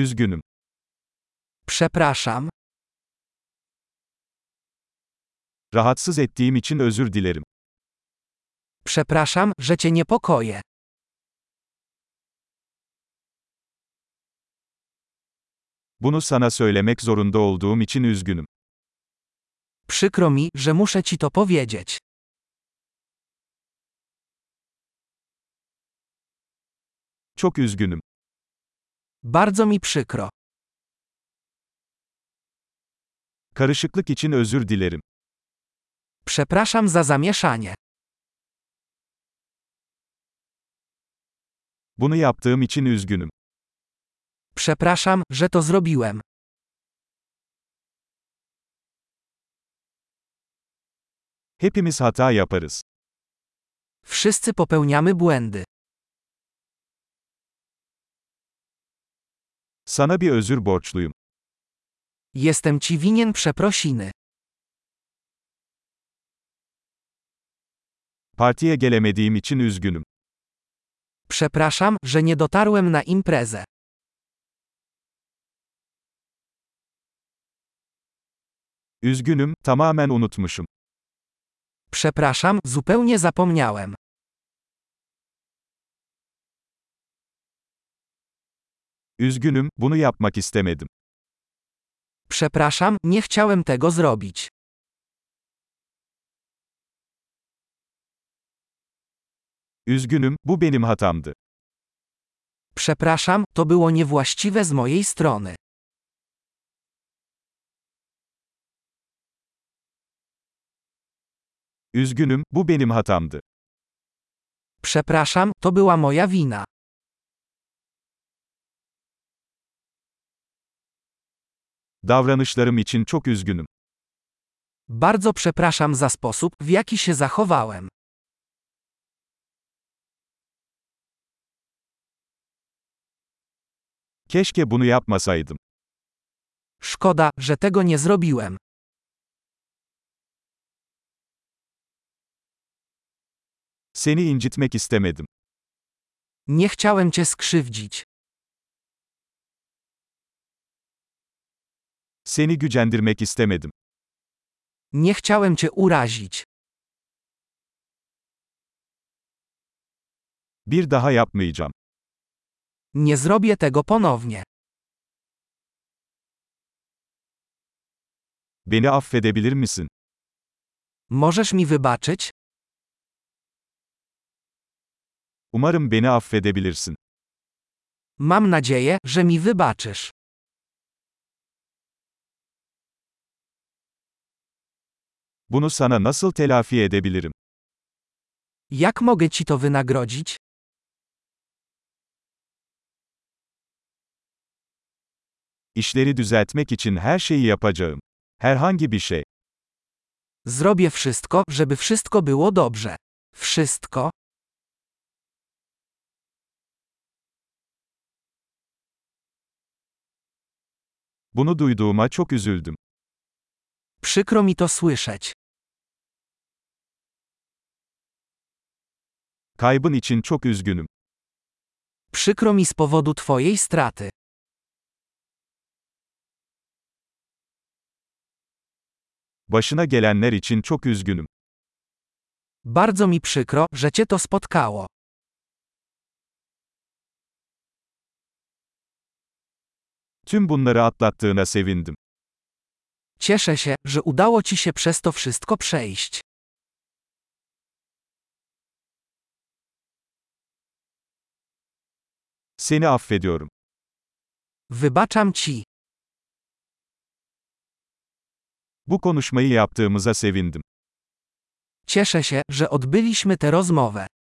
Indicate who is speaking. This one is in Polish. Speaker 1: Üzgünüm.
Speaker 2: Przepraszam,
Speaker 1: Rahatsız ettiğim için özür dilerim.
Speaker 2: przepraszam, że cię niepokoję.
Speaker 1: Bunu sana söylemek zorunda olduğum için üzgünüm.
Speaker 2: Przykro mi, że muszę ci to powiedzieć.
Speaker 1: Çok üzgünüm.
Speaker 2: Bardzo mi przykro.
Speaker 1: Karışıklık için özür dilerim.
Speaker 2: Przepraszam za zamieszanie.
Speaker 1: Bunu yaptığım için üzgünüm.
Speaker 2: Przepraszam, że to zrobiłem.
Speaker 1: Hepimiz hata yaparız.
Speaker 2: Wszyscy popełniamy błędy.
Speaker 1: Sana bir özür borçluyum.
Speaker 2: Jestem ci winien przeprosiny.
Speaker 1: Partiye gelemediğim için üzgünüm.
Speaker 2: Przepraszam, że nie dotarłem na imprezę.
Speaker 1: Üzgünüm, tamamen unutmuşum.
Speaker 2: Przepraszam, zupełnie zapomniałem.
Speaker 1: Üzgünüm, bunu yapmak istemedim.
Speaker 2: Przepraszam, nie chciałem tego zrobić.
Speaker 1: Üzgünüm, bu benim hatamdı.
Speaker 2: Przepraszam, to było niewłaściwe z mojej strony.
Speaker 1: Üzgünüm, bu benim hatamdı.
Speaker 2: Przepraszam, to była moja wina.
Speaker 1: Davranışlarım için çok üzgünüm.
Speaker 2: Bardzo przepraszam za sposób, w jaki się zachowałem.
Speaker 1: Keşke bunu yapmasaydım.
Speaker 2: Szkoda, że tego nie zrobiłem.
Speaker 1: Seni incitmek istemedim.
Speaker 2: Nie chciałem cię skrzywdzić.
Speaker 1: Seni gücendirmek istemedim.
Speaker 2: Nie chciałem cię urazić.
Speaker 1: Bir daha yapmayacağım.
Speaker 2: Nie zrobię tego ponownie.
Speaker 1: Beni affedebilir misin?
Speaker 2: Możesz mi wybaczyć?
Speaker 1: Umarım beni affedebilirsin.
Speaker 2: Mam nadzieję, że mi wybaczysz.
Speaker 1: Bunu sana nasıl telafi edebilirim?
Speaker 2: Jak mogę ci to wynagrodzić?
Speaker 1: İşleri düzeltmek için her şeyi yapacağım. Herhangi bir şey.
Speaker 2: Zrobię wszystko, żeby wszystko było dobrze. Wszystko?
Speaker 1: Bunu duyduğuma çok üzüldüm.
Speaker 2: Przykro mi to słyszeć.
Speaker 1: Kaybın için çok üzgünüm.
Speaker 2: Przykro mi z powodu twojej straty.
Speaker 1: Başına gelenler için çok üzgünüm.
Speaker 2: Bardzo mi przykro, że cię to spotkało.
Speaker 1: Tüm bunları atlattığına sevindim.
Speaker 2: Cieszę się, że udało ci się przez to wszystko przejść.
Speaker 1: Seni affediyorum.
Speaker 2: Wybaczam ci.
Speaker 1: Bu konuşmayı yaptığımıza sevindim.
Speaker 2: Cieszę się, że odbyliśmy tę rozmowę.